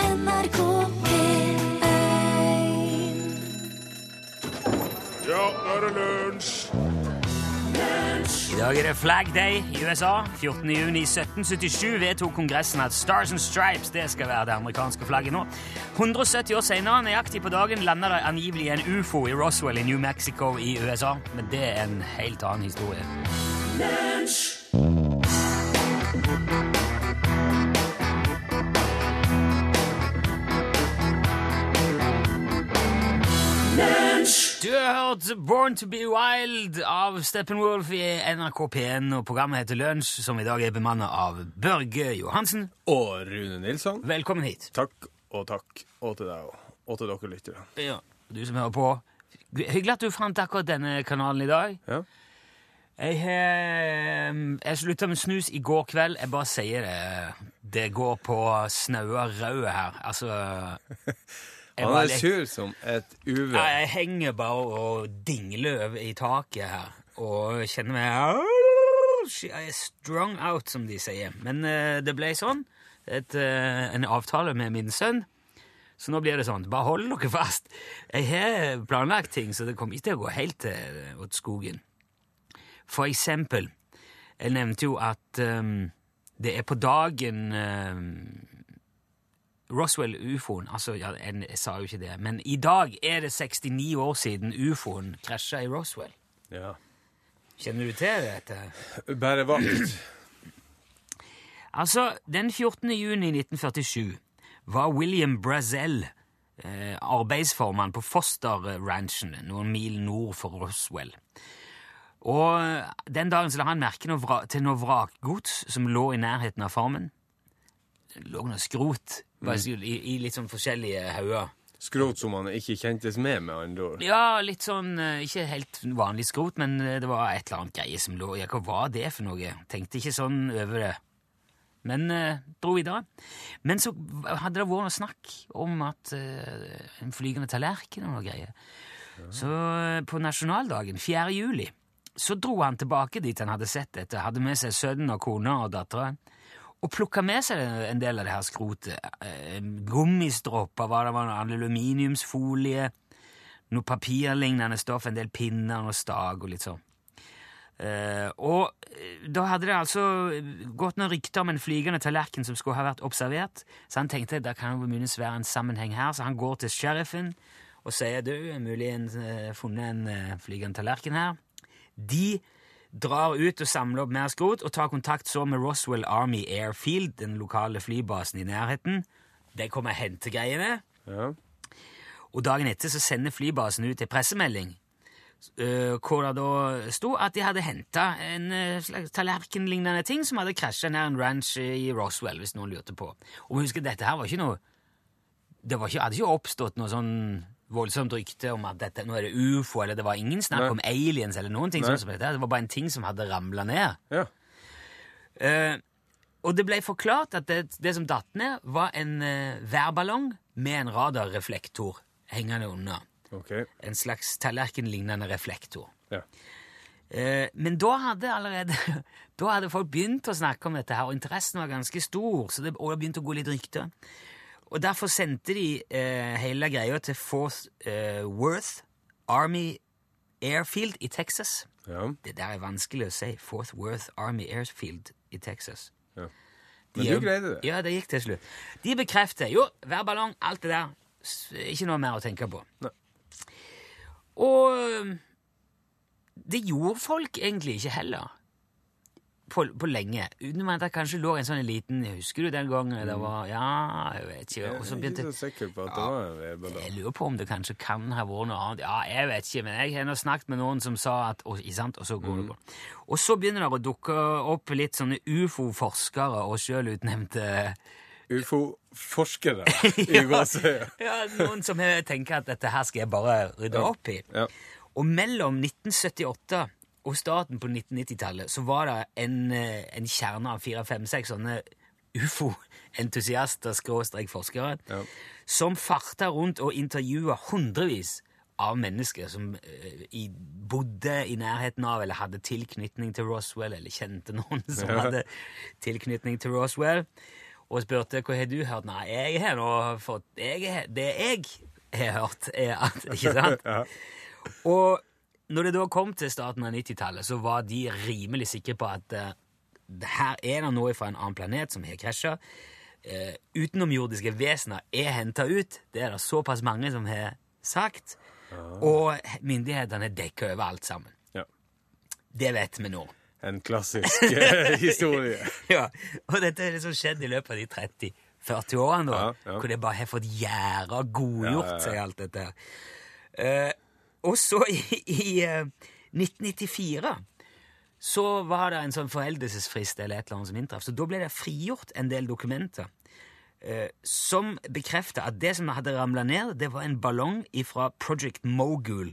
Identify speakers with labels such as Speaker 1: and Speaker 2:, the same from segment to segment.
Speaker 1: NRK P1
Speaker 2: Ja, nå er det lunsj!
Speaker 3: I dag er det Flag Day i USA. 14. juni 1777 vedtok Kongressen at Stars and Stripes det skal være det amerikanske flagget nå. 170 år senere, nøyaktig på dagen, landa det angivelig en ufo i Roswell i New Mexico i USA. Men det er en helt annen historie. Du har hørt Born to be Wild av Steppenwolf i NRK P1, og programmet heter Lunsj, som i dag er bemannet av Børge Johansen.
Speaker 2: Og Rune Nilsson.
Speaker 3: Velkommen hit.
Speaker 2: Takk og takk. Og til deg òg. Og til dere lyttere.
Speaker 3: Ja, du som hører på. Hyggelig at du fant akkurat denne kanalen i dag.
Speaker 2: Ja.
Speaker 3: Jeg, eh, jeg slutta med snus i går kveld. Jeg bare sier det. Det går på snaua røde her. Altså jeg,
Speaker 2: Han
Speaker 3: bare
Speaker 2: er
Speaker 3: litt-
Speaker 2: sur som et
Speaker 3: Nei,
Speaker 2: uvær.
Speaker 3: jeg henger bare og dingler over i taket her og kjenner meg Jeg er strung out, som de sier. Men eh, det ble sånn. Et, eh, en avtale med min sønn. Så nå blir det sånn. Bare hold dere fast. Jeg har planlagt ting, så det kommer ikke til å gå helt til, åt skogen. For eksempel Jeg nevnte jo at ehm, det er på dagen ehm, Roswell-ufoen altså, ja, en, Jeg sa jo ikke det, men i dag er det 69 år siden ufoen krasja i Roswell.
Speaker 2: Ja.
Speaker 3: Kjenner du til dette?
Speaker 2: Bare vakt.
Speaker 3: Altså, den 14. juni 1947 var William Brazell eh, arbeidsformann på Foster-ranchen noen mil nord for Roswell. Og eh, den dagen så la han merke noe vra til noe vrakgods som lå i nærheten av farmen. Det lå noe skrot bare så- i, i litt sånn forskjellige hauger.
Speaker 2: Skrot som han ikke kjentes med, med andre ord.
Speaker 3: Ja, litt sånn eh, Ikke helt vanlig skrot, men eh, det var et eller annet greie som lå Ja, hva var det for noe? Tenkte ikke sånn over det. Men eh, dro videre. Men så hadde det vært noe snakk om at eh, en flygende tallerken og noe greier. Så eh, på nasjonaldagen, 4. juli, så dro han tilbake dit han hadde sett dette. Hadde med seg sønnen og kona og datteren. Og plukka med seg en del av det her skrotet. Eh, Gummistropper var det, var det aluminiumsfolie noe papirlignende stoff, en del pinner og stag og litt sånn. Eh, og eh, da hadde det altså gått noen rykter om en flygende tallerken som skulle ha vært observert, så han tenkte det kan jo muligens være en sammenheng her, så han går til sheriffen og sier du, er mulig en, eh, funnet en eh, flygende tallerken her. De drar ut og samler opp mer skrot og tar kontakt så med Roswell Army Airfield, den lokale flybasen i nærheten. De kommer og henter greiene.
Speaker 2: Ja.
Speaker 3: Og dagen etter så sender flybasen ut en pressemelding eh, hvor det da sto at de hadde henta en eh, slags tallerkenlignende ting som hadde krasja nær en ranch i Roswell, hvis noen lurte på. Og vi husker, dette her var ikke noe Det var ikke, hadde ikke oppstått noe sånn voldsomt rykte om at dette, nå er det ufo, eller det var ingen snakk
Speaker 2: Nei.
Speaker 3: om aliens eller noen ting.
Speaker 2: Nei.
Speaker 3: sånn som dette. her. Det var bare en ting som hadde ramla ned.
Speaker 2: ja.
Speaker 3: Eh, og det ble forklart at det, det som datt ned, var en eh, værballong med en radarreflektor hengende unna.
Speaker 2: OK.
Speaker 3: En slags tallerkenlignende reflektor.
Speaker 2: Ja.
Speaker 3: Eh, men da hadde allerede da hadde folk begynt å snakke om dette, her, og interessen var ganske stor, så det, og det begynte å gå litt rykter. Og derfor sendte de eh, hele greia til Fort eh, Worth Army Airfield i Texas.
Speaker 2: ja.
Speaker 3: Det der er vanskelig å si. Fort Worth Army Airfield i Texas.
Speaker 2: Men
Speaker 3: De-
Speaker 2: du greide det.
Speaker 3: Ja, det gikk til slutt. De bekrefter jo, hver ballong, alt det der. S- Ikke noe mer å tenke på.
Speaker 2: Nei.
Speaker 3: Og øhm, det gjorde folk egentlig ikke heller. På, på lenge. Utenom at det kanskje lå en sånn liten Husker du den gangen det var Ja, jeg vet ikke.
Speaker 2: Jeg
Speaker 3: Og så
Speaker 2: er
Speaker 3: begynte
Speaker 2: Mm. ikke så sikker på at det var en
Speaker 3: jeg
Speaker 2: vedballong.
Speaker 3: lurer på om det kanskje kan ha vært noe annet. Ja, jeg vet ikke, men jeg har nå snakket med noen som sa at Og, ikke sant? og så går det på. Og så begynner det å dukke opp litt sånne ufo-forskere og sjølutnevnte
Speaker 2: Ufo-forskere i Gåsøya.
Speaker 3: ja, Noen som eh, tenker at dette her skal jeg bare rydde opp i.
Speaker 2: Ja.
Speaker 3: Og mellom 1978 og starten på 1990-tallet så var det en, eh, en kjerne av fire-fem-seks sånne ufo-entusiaster, skråstrek forskere,
Speaker 2: Ja.
Speaker 3: som farta rundt og intervjua hundrevis av mennesker som eh, i, bodde i nærheten av eller hadde tilknytning til Roswell, eller kjente noen som
Speaker 2: Ja.
Speaker 3: hadde tilknytning til Roswell. og spurte hva har du hørt. Nei, jeg har nå fått jeg, har- Det jeg har hørt, er at Ikke sant?
Speaker 2: Ja.
Speaker 3: Og når det da kom til starten av 90-tallet, så var de rimelig sikre på at eh, det her er det noe fra en annen planet som har krasja. Eh, utenomjordiske vesener er henta ut. Det er det såpass mange som har sagt. Og myndighetene dekker over alt sammen.
Speaker 2: Ja.
Speaker 3: Det vet vi nå.
Speaker 2: En klassisk eh, historie.
Speaker 3: Ja, Og dette har liksom skjedd i løpet av de 30-40 årene, da,
Speaker 2: Ja, ja.
Speaker 3: hvor det bare har fått gjæra godgjort
Speaker 2: Ja, ja, ja.
Speaker 3: seg, alt dette her. Eh, og så i, i eh, 1994 så var det en sånn foreldelsesfrist eller et eller annet som inntraff, så da ble det frigjort en del dokumenter eh, som bekrefta at det som hadde ramla ned, det var en ballong fra Project Mogul.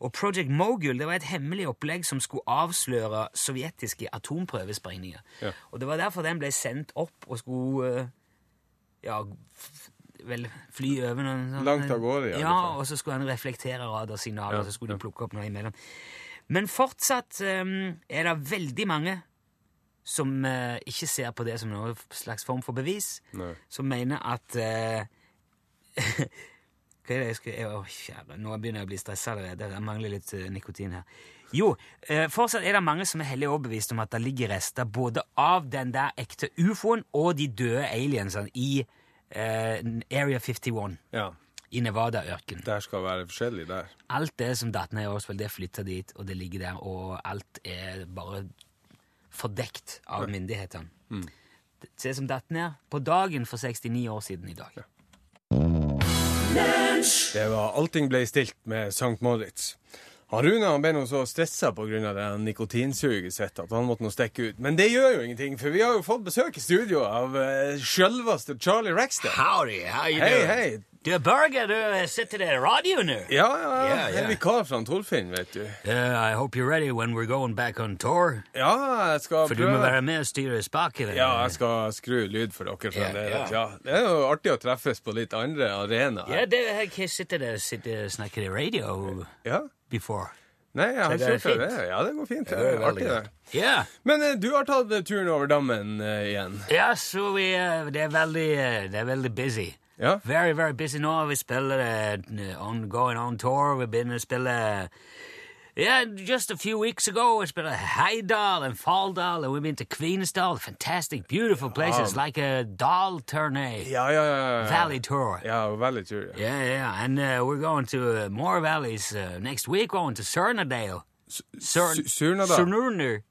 Speaker 3: Og Project Mogul det var et hemmelig opplegg som skulle avsløre sovjetiske atomprøvesprengninger.
Speaker 2: Ja.
Speaker 3: Og det var derfor den ble sendt opp og skulle eh, ja, f- vel fly over noen sånne-
Speaker 2: Langt av gårde, i alle
Speaker 3: ja.
Speaker 2: fall.
Speaker 3: Og så skulle han reflektere radarsignaler, og
Speaker 2: Ja,
Speaker 3: så skulle
Speaker 2: ja.
Speaker 3: de plukke opp noe imellom. Men fortsatt eh, er det veldig mange som eh, ikke ser på det som noen slags form for bevis,
Speaker 2: Nei.
Speaker 3: som mener at eh, Hva er det jeg skulle Å, kjære, nå begynner jeg å bli stressa allerede. Jeg mangler litt eh, nikotin her. Jo, eh, fortsatt er det mange som er hellig overbevist om at det ligger rester både av den der ekte ufoen og de døde aliensene i eh, Area 51
Speaker 2: Ja.
Speaker 3: i Nevada-ørkenen.
Speaker 2: Der skal være forskjellig der.
Speaker 3: Alt det som datt ned i Oswald, det flytta dit, og det ligger der, og alt er bare fordekt av myndighetene. Det- Det som datt ned på dagen for 69 år siden i dag.
Speaker 2: Det var Allting ble stilt med St. Moritz. Han Rune han ble nå så stressa pga. nikotinsuget sitt at han måtte nå stikke ut. Men det gjør jo ingenting, for vi har jo fått besøk i studio av uh, sjølveste Charlie Rackstead.
Speaker 3: Howdy, how you
Speaker 2: Hei, hei.
Speaker 3: Du, Børge, du sitter der i radioen nå.
Speaker 2: Ja, ja, ja.
Speaker 3: Ja, ja.
Speaker 2: En vikar fra Torfinn, vet du.
Speaker 3: Uh, I hope you're ready when we're going back on tour.
Speaker 2: Ja, jeg skal
Speaker 3: For du må
Speaker 2: prøve.
Speaker 3: være med og styre spakene.
Speaker 2: Ja, jeg skal skru lyd for dere
Speaker 3: Ja,
Speaker 2: fremdeles.
Speaker 3: ja.
Speaker 2: Ja, det er jo artig å treffes på litt andre
Speaker 3: Ja,
Speaker 2: arenaer.
Speaker 3: det har jeg sittet der og sitter og snakket i radio
Speaker 2: Ja.
Speaker 3: before.
Speaker 2: Nei, jeg har
Speaker 3: Så det er
Speaker 2: kjørt det.
Speaker 3: fint.
Speaker 2: Ja, det går fint.
Speaker 3: Det
Speaker 2: Det
Speaker 3: er
Speaker 2: er
Speaker 3: veldig
Speaker 2: artig,
Speaker 3: godt.
Speaker 2: det.
Speaker 3: Ja.
Speaker 2: Men eh, du har tatt eh, turen over dammen eh, igjen.
Speaker 3: Ja, så vi, eh, det er veldig, eh, det er veldig busy.
Speaker 2: Ja.
Speaker 3: Very, very busy nå. Vi spiller eh, on, going on tour. Vi begynner å spille uh, Yeah, just a few weeks ago, we spilled Heidal and Faldal, and we've been to Queensdal. Fantastic, beautiful places, like a Dal tourney,
Speaker 2: Ja, ja, ja. ja.
Speaker 3: Valley tour.
Speaker 2: Ja, veldig tur. Ja.
Speaker 3: Yeah, yeah, and uh, we're going to uh, more valleys uh, next week. Going to Surnadale. Sur-
Speaker 2: Su- Surnadal.
Speaker 3: Surnurner.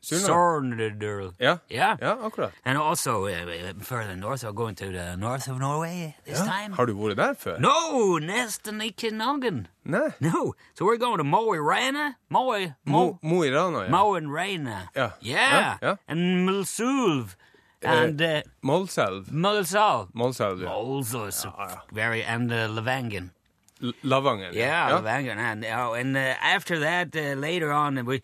Speaker 3: Surnadale.
Speaker 2: Ja.
Speaker 3: Yeah.
Speaker 2: ja, akkurat.
Speaker 3: And also uh, further north, we're going to the north of Norway this
Speaker 2: Ja.
Speaker 3: time.
Speaker 2: Har du vært der før?
Speaker 3: No, Nestan Ikinogan.
Speaker 2: Nei.
Speaker 3: No, so we're going to Moe Rana, Moe, Mo,
Speaker 2: Mo, Mo i Rana, ja.
Speaker 3: Moe and Rana.
Speaker 2: Ja.
Speaker 3: yeah,
Speaker 2: Ja, ja.
Speaker 3: and Mulsulv and uh,
Speaker 2: Målselv.
Speaker 3: Mulsal.
Speaker 2: Målselv, ja.
Speaker 3: Also, it's a very and uh, Levangan.
Speaker 2: L- Lavangen.
Speaker 3: Yeah,
Speaker 2: ja.
Speaker 3: Levangan, and oh, and uh, after that, uh, later on, we.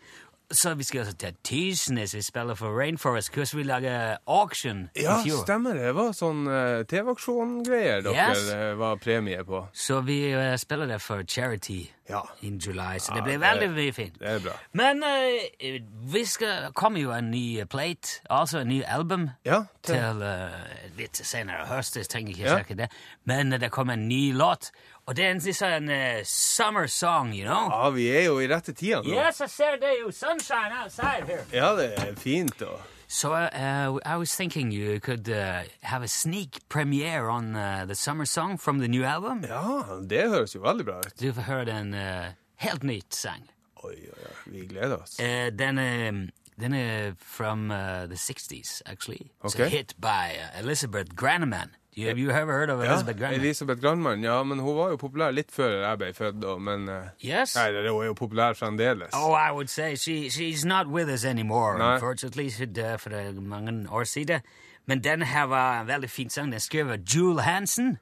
Speaker 3: Så vi skal til Tisnes, vi spiller for Rainforest, hvordan vi lager uh, auction i
Speaker 2: Ja,
Speaker 3: fjor.
Speaker 2: stemmer det. Det var sånn eh, TV-aksjon-greier dere
Speaker 3: Yes.
Speaker 2: eh, var premie på.
Speaker 3: Så vi eh, spiller det for charity
Speaker 2: Ja.
Speaker 3: in July, så det
Speaker 2: Ja,
Speaker 3: blir
Speaker 2: det-
Speaker 3: veldig mye fint.
Speaker 2: Det er bra.
Speaker 3: Men eh, vi skal kommer jo en ny eh, plate, altså en ny album,
Speaker 2: Ja, til,
Speaker 3: til eh, litt senere høst. Jeg trenger ikke
Speaker 2: Ja.
Speaker 3: snakke det. Men eh, det kommer en ny låt, og det er en sånn eh, summer song, you know?
Speaker 2: ja, vi er jo i rette tida nå.
Speaker 3: Ah, Yes, I said there you sunshine outside here.
Speaker 2: Ja, det er fint. Og.
Speaker 3: So uh, I was thinking you could uh, have a sneak premiere on uh, the summer song from the new album.
Speaker 2: Ja, det høres jo veldig bra ut.
Speaker 3: Du får høre den eh, helt nytt sang.
Speaker 2: Oi, oi, oi. Vi gleder oss.
Speaker 3: Uh, then, um, then uh, from uh, the 60s, actually. It's a
Speaker 2: Okay.
Speaker 3: hit by uh, Elizabeth Graneman. Do you, have you ever heard of Elizabeth Graneman?
Speaker 2: Elisabeth Grandmann, ja, men hun var jo populær litt før jeg ble født, da, men eh,
Speaker 3: yes?
Speaker 2: Nei, det- hun er jo populær fremdeles.
Speaker 3: Oh, I would say she she's not with us anymore,
Speaker 2: Nei.
Speaker 3: unfortunately. She døde for eh, mange år siden. Men den her var en veldig fin sang. Den skrev av Jule Hansen.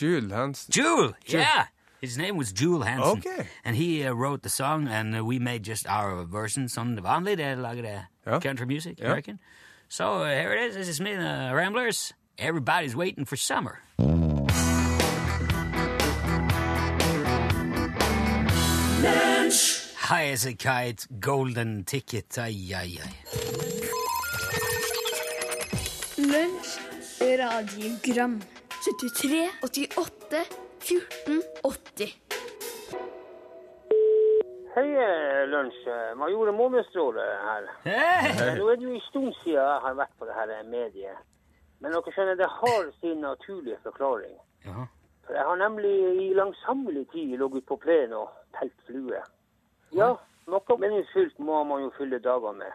Speaker 2: Jule Hansen.
Speaker 3: Jule! Yeah! His name was Jule Hansen.
Speaker 2: Okay.
Speaker 3: And he uh, wrote the song, and uh, we made just our version, som det vanlige, det er laget av
Speaker 2: Ja.
Speaker 3: country music, American. So uh, here it is, this is me, and the Ramblers. Everybody's waiting for summer. High as a kite, golden ticket, ai, ai, ai.
Speaker 1: Lunsj, Radiogram 73 88 14 80
Speaker 4: Hei, eh, Lunsj. Eh, Major Månestråle her.
Speaker 3: Hei!
Speaker 4: Nå er det jo en stund siden jeg har vært på det her eh, mediet. Men dere skjønner, det har sin naturlige forklaring.
Speaker 3: Ja.
Speaker 4: For jeg har nemlig i langsommelig tid ligget på plenen og telt fluer. Ja, noe meningsfylt må man jo fylle dager med.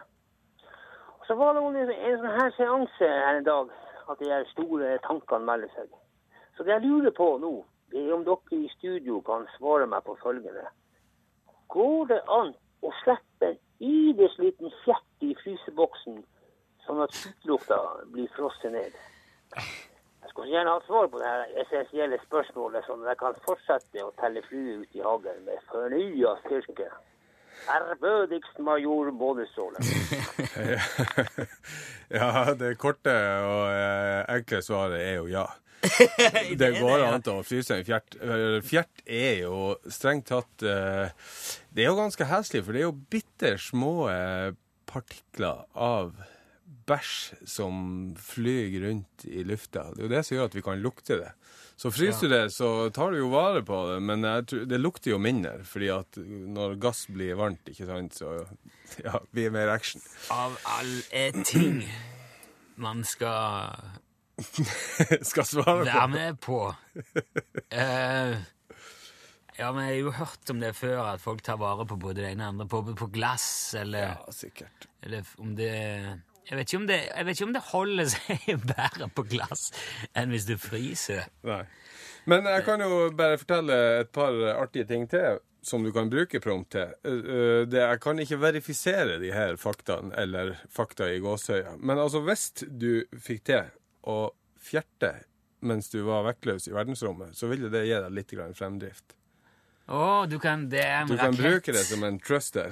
Speaker 4: Og så var det jo en en sånn her seanse her en dag, at de her store tankene melder seg. Så det jeg lurer på nå, det er om dere i studio kan svare meg på følgende. Går det an å slippe en ides liten fjett i fryseboksen, sånn at sluttlukta blir frosset ned? Jeg skulle gjerne hatt svar på det her essensielle spørsmålet, sånn at jeg kan fortsette å telle fluer ut i hagen med fornya styrke. Ærbødigst major Bådestråle.
Speaker 2: Ja, det korte og eh, enkle svaret er jo ja. Det går an til å fryse en fjert. Eh, Fjert er jo strengt tatt eh, Det er jo ganske heslig, for det er jo bitte små eh, partikler av bæsj som flyr rundt i lufta. Det er jo det som gjør at vi kan lukte det. Så fryser du det, så tar du jo vare på det, men jeg tror, det lukter jo mindre, fordi at når gass blir varmt, ikke sant, så ja, blir det mer action.
Speaker 3: Av alle ting man skal
Speaker 2: Skal svare på
Speaker 3: være med på eh, Ja, vi har jo hørt om det før, at folk tar vare på både det ene og det andre. På, på glass, eller,
Speaker 2: Ja, sikkert.
Speaker 3: eller om det jeg vet, ikke om det, jeg vet ikke om det holder seg bedre på glass enn hvis du fryser.
Speaker 2: Nei. Men jeg kan jo bare fortelle et par artige ting til som du kan bruke prompt til. Eh, eh, Det, jeg kan ikke verifisere de her faktaene, eller fakta i gåsøya. Men altså, hvis du fikk til å fjerte mens du var vektløs i verdensrommet, så ville det gi deg litt grann fremdrift.
Speaker 3: Å, du kan Det er en
Speaker 2: Du kan
Speaker 3: rakett.
Speaker 2: bruke det som en thruster.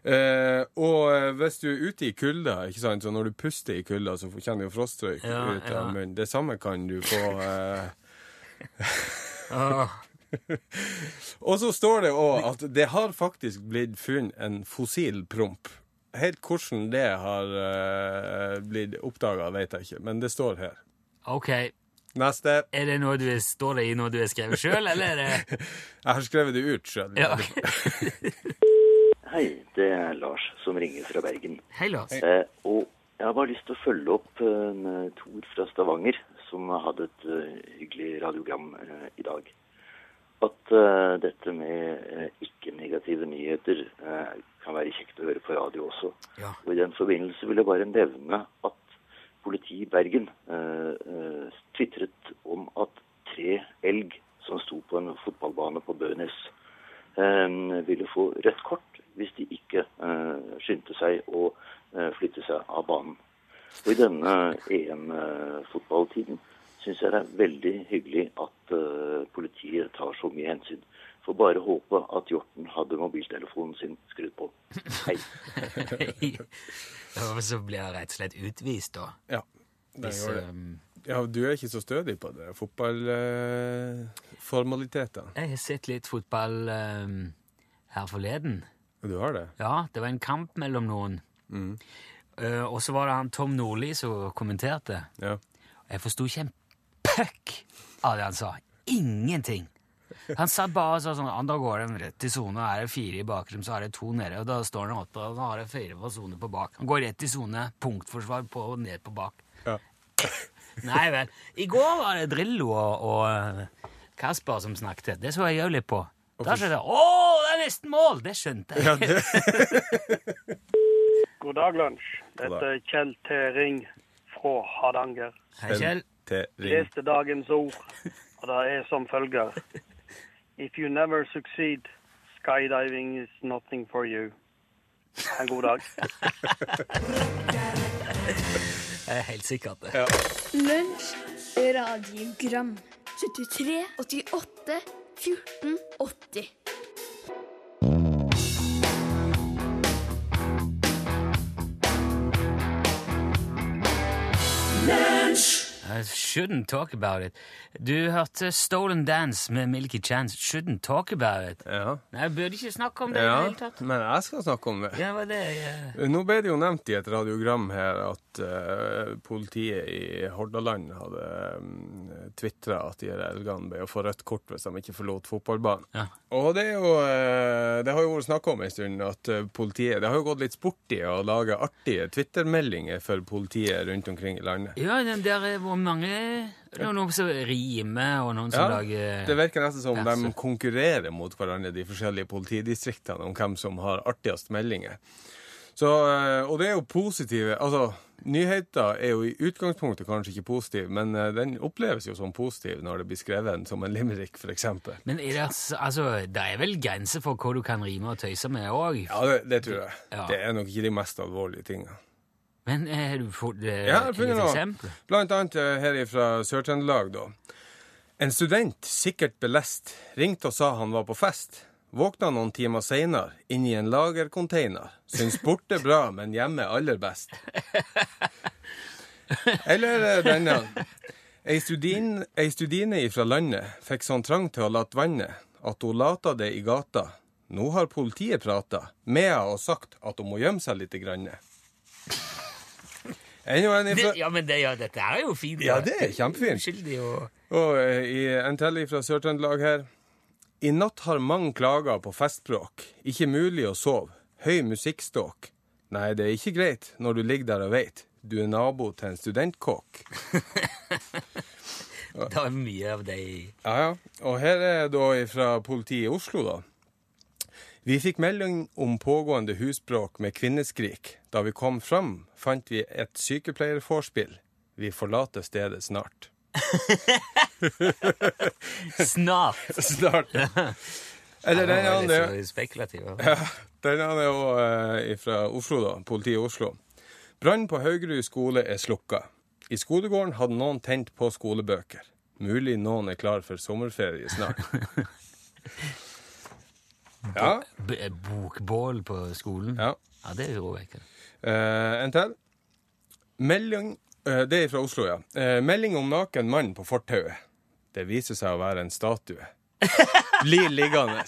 Speaker 2: Eh, og eh, hvis du er ute i kulda, ikke sant, så når du puster i kulda, så kjenner du frostrøyk
Speaker 3: Ja,
Speaker 2: ut av
Speaker 3: ja.
Speaker 2: munnen. Det samme kan du få eh,
Speaker 3: Åh,
Speaker 2: Og så står det òg at det har faktisk blitt funnet en fossil promp. Helt hvordan det har eh, blitt oppdaga, vet jeg ikke, men det står her.
Speaker 3: ok. Er
Speaker 2: Neste.
Speaker 3: det noe du, står det i noe du har skrevet sjøl, eller er det
Speaker 2: Jeg har skrevet det ut sjøl.
Speaker 3: ja, ok.
Speaker 5: Hei, det er Lars som ringer fra Bergen.
Speaker 3: Hei, Lars.
Speaker 5: Eh, og jeg har bare lyst til å følge opp eh, en Tor fra Stavanger, som hadde et eh, hyggelig radiogram eh, i dag. At eh, dette med eh, ikke-negative nyheter eh, kan være kjekt å høre på radio også.
Speaker 3: Ja.
Speaker 5: Og i den forbindelse vil jeg bare nevne at politiet i Bergen eh, eh, tvitret om at tre elg som sto på en fotballbane på Bønes, eh, ville få rødt kort hvis de ikke eh, skyndte seg å eh, flytte seg av banen. Og i denne EM-fotballtiden syns jeg det er veldig hyggelig at eh, politiet tar så mye hensyn. Får bare håpe at Hjorten hadde mobiltelefonen sin skrudd på. Hei.
Speaker 3: Og så blir jeg rett og slett utvist, da.
Speaker 2: Ja. Det
Speaker 3: Hvis,
Speaker 2: gjør det.
Speaker 3: ehm,
Speaker 2: ja, du er ikke så stødig på det. Fotballformalitetene.
Speaker 3: Jeg har sett litt fotball ehm, her forleden.
Speaker 2: du har det?
Speaker 3: Ja, det var en kamp mellom noen. Eh, og så var det han Tom Nordli som kommenterte.
Speaker 2: Ja.
Speaker 3: Jeg forsto ikke en puck av det han sa. Ingenting! Han satt bare og sa sånn «Ja, Da går de rett i sone. Er det fire i bakrom, så er det to nede. Og da står han oppe, og da har det fire på sone på bak. Han går rett i sone. Punktforsvar på og ned på bak.
Speaker 2: Ja.
Speaker 3: Nei vel. I går var det Drillo og, og eh, Kasper som snakket. Det så jeg òg litt på. Da skjedde det. Å, det er nesten mål! Det skjønte jeg.
Speaker 6: God dag, lunsj.
Speaker 2: God
Speaker 6: Dette
Speaker 2: dag.
Speaker 6: er Kjell Tering fra Hardanger.
Speaker 3: Hei, Kjell.
Speaker 2: Til ring.
Speaker 6: Leste dagens ord, og det er som følger. If you never succeed, skydiving is nothing for you. Ha En god dag.
Speaker 3: Jeg er helt sikkert det.
Speaker 1: Lunsj Radiogram 73 88 14 80
Speaker 3: Eh, I shouldn't talk about it. Du hørte Stolen Dance med Milky Chance. Shouldn't talk about it.
Speaker 2: Ja.
Speaker 3: Nei, jeg burde ikke snakke om det i det
Speaker 2: ja.
Speaker 3: hele tatt.
Speaker 2: Men jeg skal snakke om det.
Speaker 3: Ja, hva er det ja.
Speaker 2: Nå ble det jo nevnt i et radiogram her at eh, politiet i Hordaland hadde um, tvitra at de her elgene ble å få rødt kort hvis de ikke forlot fotballbanen.
Speaker 3: Ja.
Speaker 2: Og det, er jo, eh, det har jo vært snakka om en stund at eh, politiet Det har jo gått litt sporty å lage artige twittermeldinger for politiet rundt omkring i landet.
Speaker 3: Ja, den der er hvor mange Det er noen som rimer, og noen som lager
Speaker 2: det virker nesten som
Speaker 3: verser.
Speaker 2: de konkurrerer mot hverandre, de forskjellige politidistriktene, om hvem som har artigst meldinger. Så, eh, og det er jo positive Altså, nyheter er jo i utgangspunktet kanskje ikke positiv, men eh, den oppleves jo som positiv når det blir skrevet som en limerick, f.eks.
Speaker 3: Men er det, altså- altså, det er vel grenser for hva du kan rime og tøyse med òg?
Speaker 2: Ja, det, det tror jeg.
Speaker 3: Ja.
Speaker 2: Det er nok ikke de mest alvorlige tingene.
Speaker 3: Men eh, har du fått eh,
Speaker 2: Ja, jeg
Speaker 3: et
Speaker 2: finner
Speaker 3: lite
Speaker 2: noe.
Speaker 3: eksempel?
Speaker 2: Blant annet eh, her fra Sør-Trøndelag, da. En student, sikkert belest, ringte og sa han var på fest. Våkna noen timer seinere, inni en lagercontainer. Syns borte bra, men hjemme aller best. Eller eh, denne. Ei studin- ei studine ifra landet fikk sånn trang til å late vannet at hun lata det i gata. Nå har politiet prata med henne og sagt at hun må gjemme seg lite grann. Enda en
Speaker 3: Det,
Speaker 2: ifra...
Speaker 3: ja, men det, ja, dette er jo fint.
Speaker 2: Ja, det er kjempefint.
Speaker 3: Uskyldig og
Speaker 2: Og eh, i en telling fra Sør-Trøndelag her. I natt har mange klager på festbråk. Ikke mulig å sove. Høy musikkståk. Nei, det er ikke greit når du ligger der og veit. Du er nabo til en studentkåk.
Speaker 3: Det er mye av det i-
Speaker 2: Ja, ja. Og her er da fra politiet i Oslo, da. Vi fikk melding om pågående husbråk med kvinneskrik. Da vi kom fram, fant vi et sykepleierforspill. Vi forlater stedet snart.
Speaker 3: Snart!
Speaker 2: Snart. Eller den
Speaker 3: Ja, det
Speaker 2: andre.
Speaker 3: var litt så spekulativ.
Speaker 2: Den er jo eh, fra Oslo, da. Politiet i Oslo. Brann på Haugerud skole er slukka. I skolegården hadde noen tent på skolebøker. Mulig noen er klar for sommerferie snart. Ja,
Speaker 3: B eh, bokbål på skolen.
Speaker 2: ja.
Speaker 3: Ja, det er urovekkende.
Speaker 2: Eh, en til. Melding eh, Det er fra Oslo, ja. Eh, melding om naken mann på fortauet. Det viser seg å være en statue. Bli liggende.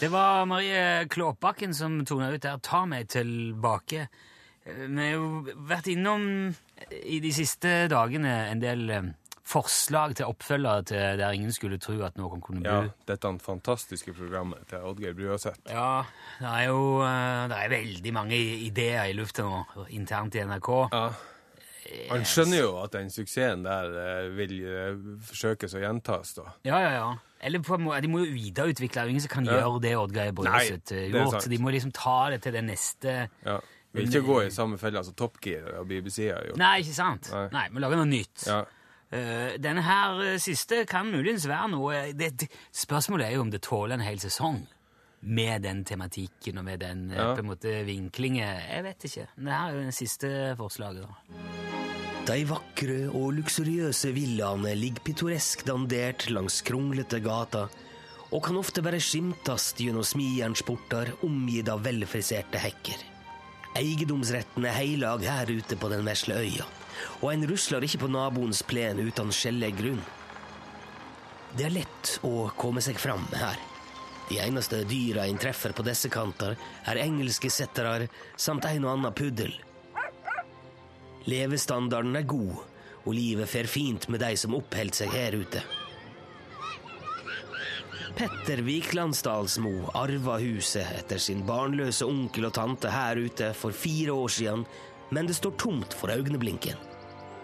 Speaker 3: Det var Marie Klåbakken som tona ut der. Ta meg tilbake. Eh, Vi har jo vært innom eh, i de siste dagene en del eh, forslag til oppfølgere til der ingen skulle tro at noen kunne bo.
Speaker 2: Ja, dette fantastiske programmet til Oddgeir Brøseth.
Speaker 3: Ja, det er jo eh, det er veldig mange i- ideer i lufta nå, internt i NRK.
Speaker 2: Han skjønner jo at den suksessen der eh, vil eh, forsøkes å gjentas, da.
Speaker 3: Ja, ja, ja. Eller på en måte, de må jo videreutvikle, det er jo ingen som kan
Speaker 2: Ja.
Speaker 3: gjøre det Oddgeir Brøset
Speaker 2: Nei,
Speaker 3: eh,
Speaker 2: det er
Speaker 3: gjort.
Speaker 2: sant.
Speaker 3: Så de må liksom ta det til det neste
Speaker 2: Ja. Vil ikke gå i samme fella som Top Gear og BBC har gjort.
Speaker 3: Nei, ikke sant?
Speaker 2: Nei.
Speaker 3: Nei, vi lager noe nytt.
Speaker 2: Ja.
Speaker 3: Eh, denne her eh, siste kan muligens være noe eh, det, det, Spørsmålet er jo om det tåler en hel sesong med den tematikken og med den eh,
Speaker 2: Ja.
Speaker 3: på en måte vinklingen. Jeg vet ikke. Det her er jo det siste forslaget. da.
Speaker 7: De vakre og luksuriøse villaene ligger pittoresk dandert langs kronglete gater og kan ofte bare skimtes gjennom smijernsporter omgitt av velfriserte hekker. Eiendomsretten er heilag her ute på den vesle øya, og en rusler ikke på naboens plen uten skjellig grunn. Det er lett å komme seg fram her. De eneste dyra en treffer på disse kanter, er engelske settere samt en og annen puddel. Levestandarden er god, og livet fer fint med de som oppholder seg her ute. Petter Viklandsdalsmo arva huset etter sin barnløse onkel og tante her ute for fire år siden, men det står tomt for øyeblinken.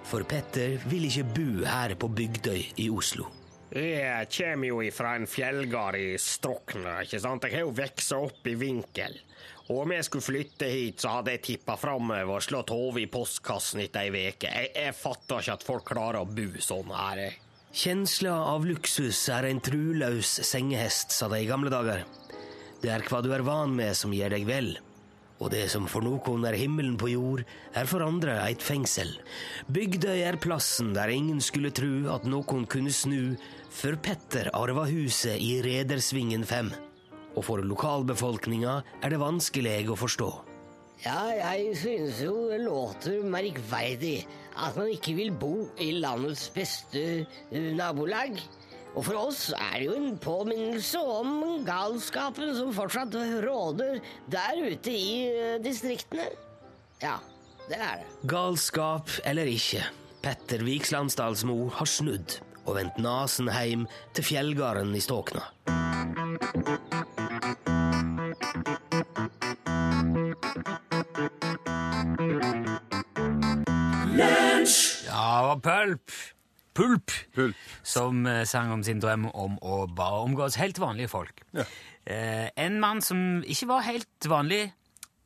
Speaker 7: For Petter vil ikke bo her på Bygdøy i Oslo.
Speaker 8: Jeg kommer jo ifra en fjellgard i Strokna, ikke sant? Jeg har jo vokst opp i vinkel. Og om jeg skulle flytte hit, så hadde jeg tippa framover og slått hodet i postkassen etter ei uke. Jeg, jeg fatter ikke at folk klarer å bo sånn her. jeg.
Speaker 7: Kjensla av luksus er en truløs sengehest, sa de i gamle dager. Det er hva du er van med som gjør deg vel. Og det som for noen er himmelen på jord, er for andre eit fengsel. Bygdøy er plassen der ingen skulle tru at noen kunne snu, før Petter arva huset i Redersvingen 5. Og for lokalbefolkninga er det vanskelig å forstå.
Speaker 9: Ja, jeg synes jo det låter merkverdig at man ikke vil bo i landets beste eh, nabolag. Og for oss er det jo en påminnelse om galskapen som fortsatt råder der ute i eh, distriktene. Ja, det er det.
Speaker 7: Galskap eller ikke, Petter Vikslandsdalsmo har snudd og vendt nesen heim til fjellgarden i Ståkna.
Speaker 3: Ja, og pulp. Pulp,
Speaker 2: Pulp.
Speaker 3: som eh, sang om sin drøm om å bare omgås helt vanlige folk. Eh, en mann som ikke var helt vanlig,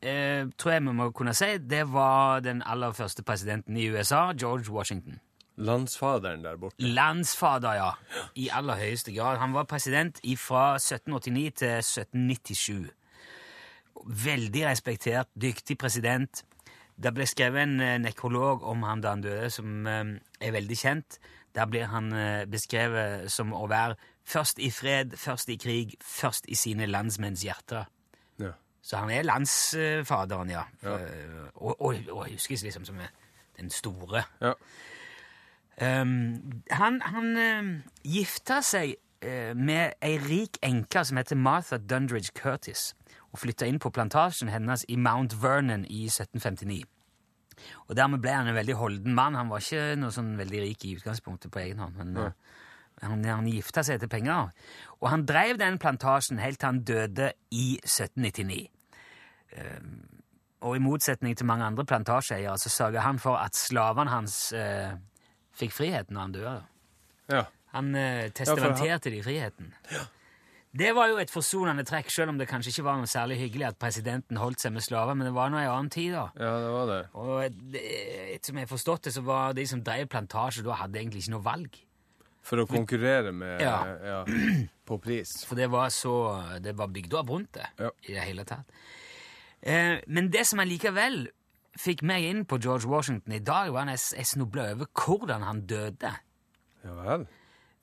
Speaker 3: eh, tror jeg vi må kunne si, det var den aller første presidenten i USA, George Washington.
Speaker 2: Landsfaderen der borte.
Speaker 3: Landsfader, ja. I aller høyeste grad. Han var president fra 1789 til 1797. Veldig respektert, dyktig president. Det ble skrevet en eh, nekrolog om han da han døde, som eh, er veldig kjent. Der blir han eh, beskrevet som å være først i fred, først i krig, først i sine landsmenns hjerter.
Speaker 2: Ja.
Speaker 3: Så han er landsfaderen, ja. Eh, Og, og, og huskes liksom som eh, den store.
Speaker 2: Ja.
Speaker 3: Um, han han um, gifta seg eh, med ei rik enke som heter Martha Dundridge Curtis, og flytta inn på plantasjen hennes i Mount Vernon i 1759. Og Dermed ble han en veldig holden mann. Han var ikke noe sånn veldig rik i utgangspunktet på egen hånd, men eh, han, han gifta seg etter penger. Og han drev den plantasjen helt til han døde i 1799. Um, og i motsetning til mange andre plantasjeeiere så sørga han for at slavene hans eh, fikk frihet når han døde.
Speaker 2: ja.
Speaker 3: Han eh, testamenterte de friheten. Det var jo et forsonende trekk, selv om det kanskje ikke var noe særlig hyggelig at presidenten holdt seg med slaver, men det var nå en annen tid, da.
Speaker 2: Ja, det var det.
Speaker 3: Og det- etter som jeg har forstått det, så var de som drev plantasje da, hadde egentlig ikke noe valg.
Speaker 2: For å konkurrere med
Speaker 3: Ja.
Speaker 2: Ja, på pris.
Speaker 3: For det var så Det var bygd opp rundt det
Speaker 2: Ja.
Speaker 3: i det hele tatt. Eh, men det som allikevel fikk meg inn på George Washington i dag, var at jeg, jeg snubla over hvordan han døde.
Speaker 2: Ja vel.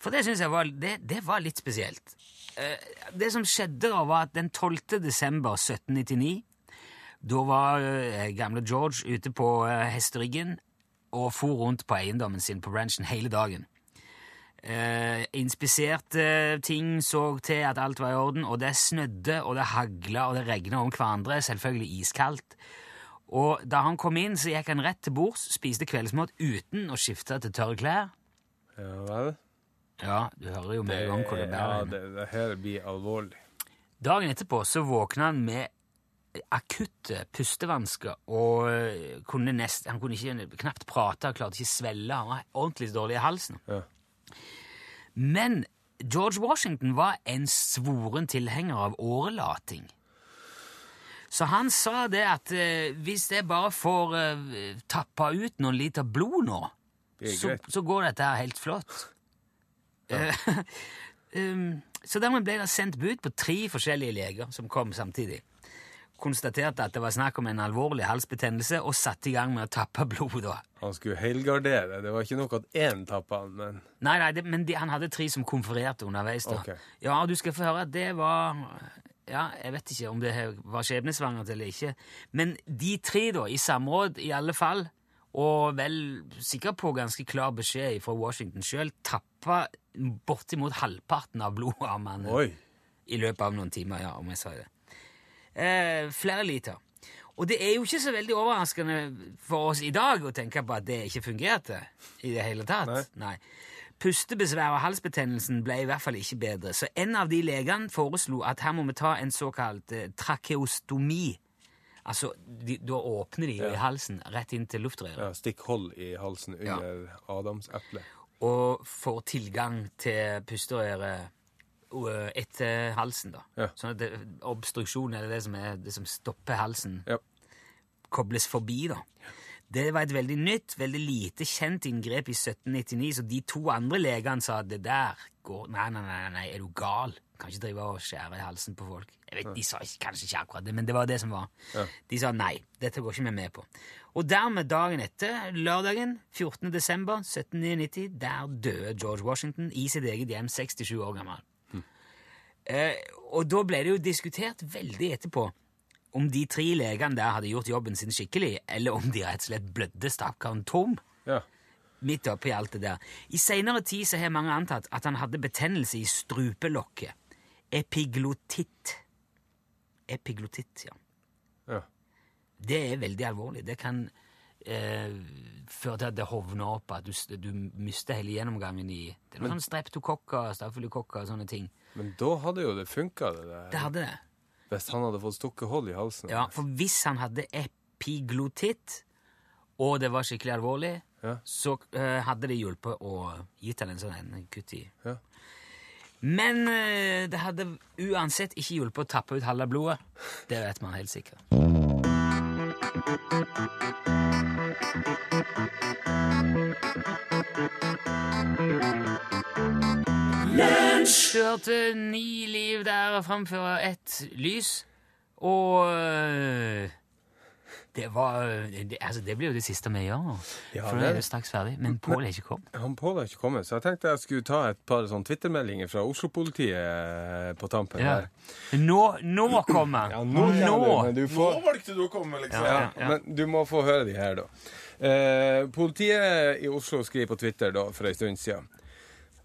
Speaker 3: For det synes jeg var, det, det var litt spesielt. Eh, Det som skjedde da, var at den 12. desember 1799, da var eh, gamle George ute på eh, hesteryggen og for rundt på eiendommen sin på ranchen hele dagen. Eh, Inspiserte ting, så til at alt var i orden, og det snødde, og det hagla, og det regna om hverandre, selvfølgelig iskaldt. Og da han kom inn, så gikk han rett til bords, spiste kveldsmat uten å skifte til tørre klær.
Speaker 2: Ja vel.
Speaker 3: Ja, du hører jo med en gang hvor det bærer.
Speaker 2: ja,
Speaker 3: hen.
Speaker 2: det, det her blir alvorlig.
Speaker 3: Dagen etterpå så våkna han med akutte pustevansker og øh, kunne nest, han kunne ikke knapt prate, han klarte ikke svelle, han var ordentlig dårlig i halsen.
Speaker 2: Ja.
Speaker 3: Men George Washington var en svoren tilhenger av årelating. Så han sa det at øh, hvis jeg bare får øh, tappa ut noen liter blod nå,
Speaker 2: Det er
Speaker 3: så,
Speaker 2: greit.
Speaker 3: så går dette her helt flott. Eh, um, så dermed ble det sendt bud på tre forskjellige leger som kom samtidig. Konstaterte at det var snakk om en alvorlig halsbetennelse, og satte i gang med å tappe blod. da.
Speaker 2: Han skulle helgardere. Det var ikke nok at én tappa han, men
Speaker 3: Nei, nei, det, men de, han hadde tre som konfererte underveis. da.
Speaker 2: Ok.
Speaker 3: Ja, du skal få høre at det var ja, Jeg vet ikke om det her var skjebnesvangert eller ikke. Men de tre, da, i samråd i alle fall, og vel sikkert på ganske klar beskjed fra Washington sjøl, tappa bortimot halvparten av blodet av mannen
Speaker 2: Oi!
Speaker 3: i løpet av noen timer, ja, om jeg sa det. Eh, flere liter. Og det er jo ikke så veldig overraskende for oss i dag å tenke på at det ikke fungerte i det hele tatt. Nei. Pustebesvær og halsbetennelsen ble i hvert fall ikke bedre, så en av de legene foreslo at her må vi ta en såkalt eh, trakeostomi. Altså, de, da åpner de jo i halsen rett inn til luftrøret,
Speaker 2: Ja, stikk hold i halsen under adamseplet.
Speaker 3: og får tilgang til pusterøret eh, etter halsen, da.
Speaker 2: Ja.
Speaker 3: Sånn at det, obstruksjon er det som, er, det som stopper halsen,
Speaker 2: Ja.
Speaker 3: kobles forbi, da. Det var et veldig nytt, veldig lite kjent inngrep i 1799, så de to andre legene sa at det der går Nei, nei, nei, nei, er du gal? Kan ikke drive og skjære i halsen på folk. Jeg vet, De sa ikke- kanskje ikke akkurat det, men det var det som var. De sa nei, dette går ikke vi med på. Og dermed dagen etter, lørdagen 14. desember 1799, der døde George Washington i sitt eget hjem, 67 år gammel. Eh, og da ble det jo diskutert veldig etterpå om de tre legene der hadde gjort jobben sin skikkelig, eller om de rett og slett blødde stakkaren tom
Speaker 2: Ja.
Speaker 3: midt oppi alt det der. I senere tid så har mange antatt at han hadde betennelse i strupelokket. Epiglotitt. Epiglotitt, ja.
Speaker 2: Ja.
Speaker 3: Det er veldig alvorlig. Det kan eh, føre til at det hovner opp, at du, s- du mister hele gjennomgangen i Det er noe sånn streptokokker, stafylokokker og sånne ting.
Speaker 2: Men da hadde jo det funka, det der.
Speaker 3: Det hadde det.
Speaker 2: Hvis han hadde fått stukket hull i halsen.
Speaker 3: Ja, for hvis han hadde epiglotitt, og det var skikkelig alvorlig,
Speaker 2: Ja.
Speaker 3: så eh, hadde det hjulpet å gitt han en sånn en kutt i.
Speaker 2: Ja.
Speaker 3: Men eh, det hadde uansett ikke hjulpet å tappe ut halve blodet. Det vet man helt sikkert. Du hørte Ni liv der framfor ett lys, og øh, det var øh, det, Altså, det blir jo det siste vi gjør.
Speaker 2: Ja,
Speaker 3: for nå
Speaker 2: det er
Speaker 3: er vi
Speaker 2: det.
Speaker 3: straks ferdig. Men Pål er ikke kommet.
Speaker 2: Han Pål har ikke kommet, så jeg tenkte jeg skulle ta et par sånn Twitter-meldinger fra Oslo-politiet eh, på tampen.
Speaker 3: Ja.
Speaker 2: her.
Speaker 3: Nå, nå kommer han!
Speaker 2: Ja, nå, kommer du, men du får...
Speaker 10: Nå valgte du å komme, liksom.
Speaker 2: Ja, Men du må få høre de her, da. Eh, politiet i Oslo skriver på Twitter da, for en stund siden.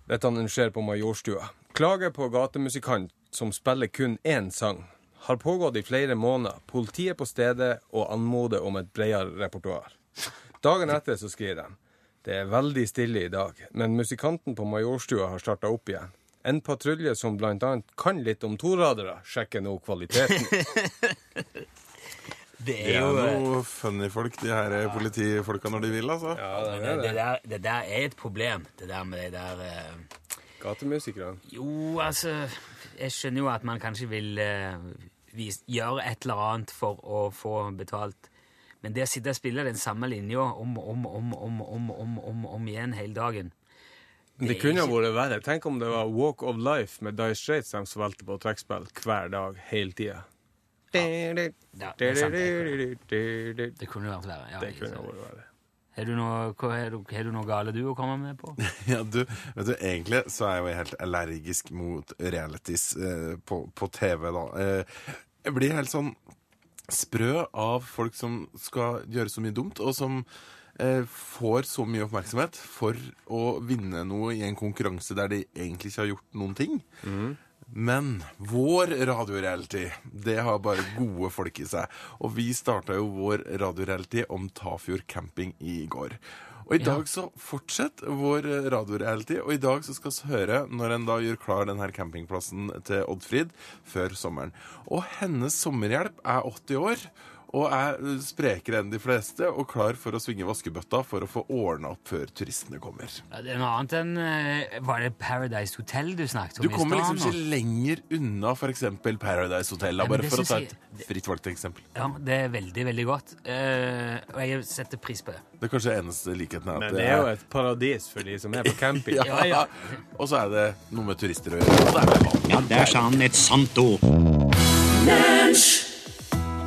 Speaker 2: Dette han skjer på Majorstua. Klager på gatemusikant som spiller kun én sang. Har pågått i flere måneder. Politiet på stedet og anmoder om et bredere repertoar. Dagen etter så skriver de. Det er veldig stille i dag, men musikanten på Majorstua har starta opp igjen. En patrulje som blant annet kan litt om toradere, sjekker nå kvaliteten.
Speaker 3: Det
Speaker 10: De
Speaker 3: er
Speaker 10: er
Speaker 3: jo øh,
Speaker 10: noe funny folk, de her eh, politifolka, når de vil, altså.
Speaker 3: det, det, der, det der er et problem, det der med det der øh,
Speaker 2: Gatemusikerne.
Speaker 3: Jo, altså Jeg skjønner jo at man kanskje vil eh, vis, gjøre et eller annet for å få betalt. Men det å sitte og spille den samme linja om og om, om, om, om, om, om, om igjen hele dagen
Speaker 2: Det,
Speaker 3: er
Speaker 2: kunne
Speaker 3: ikke-
Speaker 2: vært verre. Tenk om det var Walk of Life med Dice Straits de spilte på trekkspill hver dag hele tida.
Speaker 3: ja, det, er sant, det,
Speaker 2: Det
Speaker 3: det kunne vært verre. Ja,
Speaker 2: kunne vært verre.
Speaker 3: Har du noe, hva- har du, har du noe gale du å komme med på?
Speaker 10: Ja, du, vet du, egentlig så er jeg jo helt allergisk mot realities eh, på, på TV, da. Eh, jeg blir helt sånn sprø av folk som skal gjøre så mye dumt, og som eh, får så mye oppmerksomhet for å vinne noe i en konkurranse der de egentlig ikke har gjort noen ting. Men vår radioreality, det har bare gode folk i seg. Og vi starta jo vår radioreality om Tafjord camping i går. Og i dag så fortsetter vår radioreality, og i dag så skal vi høre når en da gjør klar denne campingplassen til Oddfrid før sommeren. Og hennes sommerhjelp er 80 år. Og er eh, sprekere enn de fleste og klar for å svinge vaskebøtta for å få ordna opp før turistene kommer.
Speaker 3: Ja, det er noe annet enn eh, Var det Paradise Hotel du snakket om
Speaker 10: Du kommer
Speaker 3: i
Speaker 10: liksom
Speaker 3: stad? nå?
Speaker 10: ikke lenger unna f.eks. Paradise Hotel, da,
Speaker 3: Nei, men
Speaker 10: bare
Speaker 3: det
Speaker 10: for å ta
Speaker 3: synes
Speaker 10: et fritt valgt eksempel.
Speaker 3: Ja, det er veldig, veldig godt. Eh, og jeg setter pris på det.
Speaker 10: Det er kanskje eneste likheten er
Speaker 2: Men
Speaker 10: at
Speaker 2: det er jo et paradis for de som er på camping.
Speaker 10: ja.
Speaker 3: Ja, ja.
Speaker 10: Og så er det noe med turister å gjøre. Og det er det.
Speaker 11: Ja, der sa han et sant ord.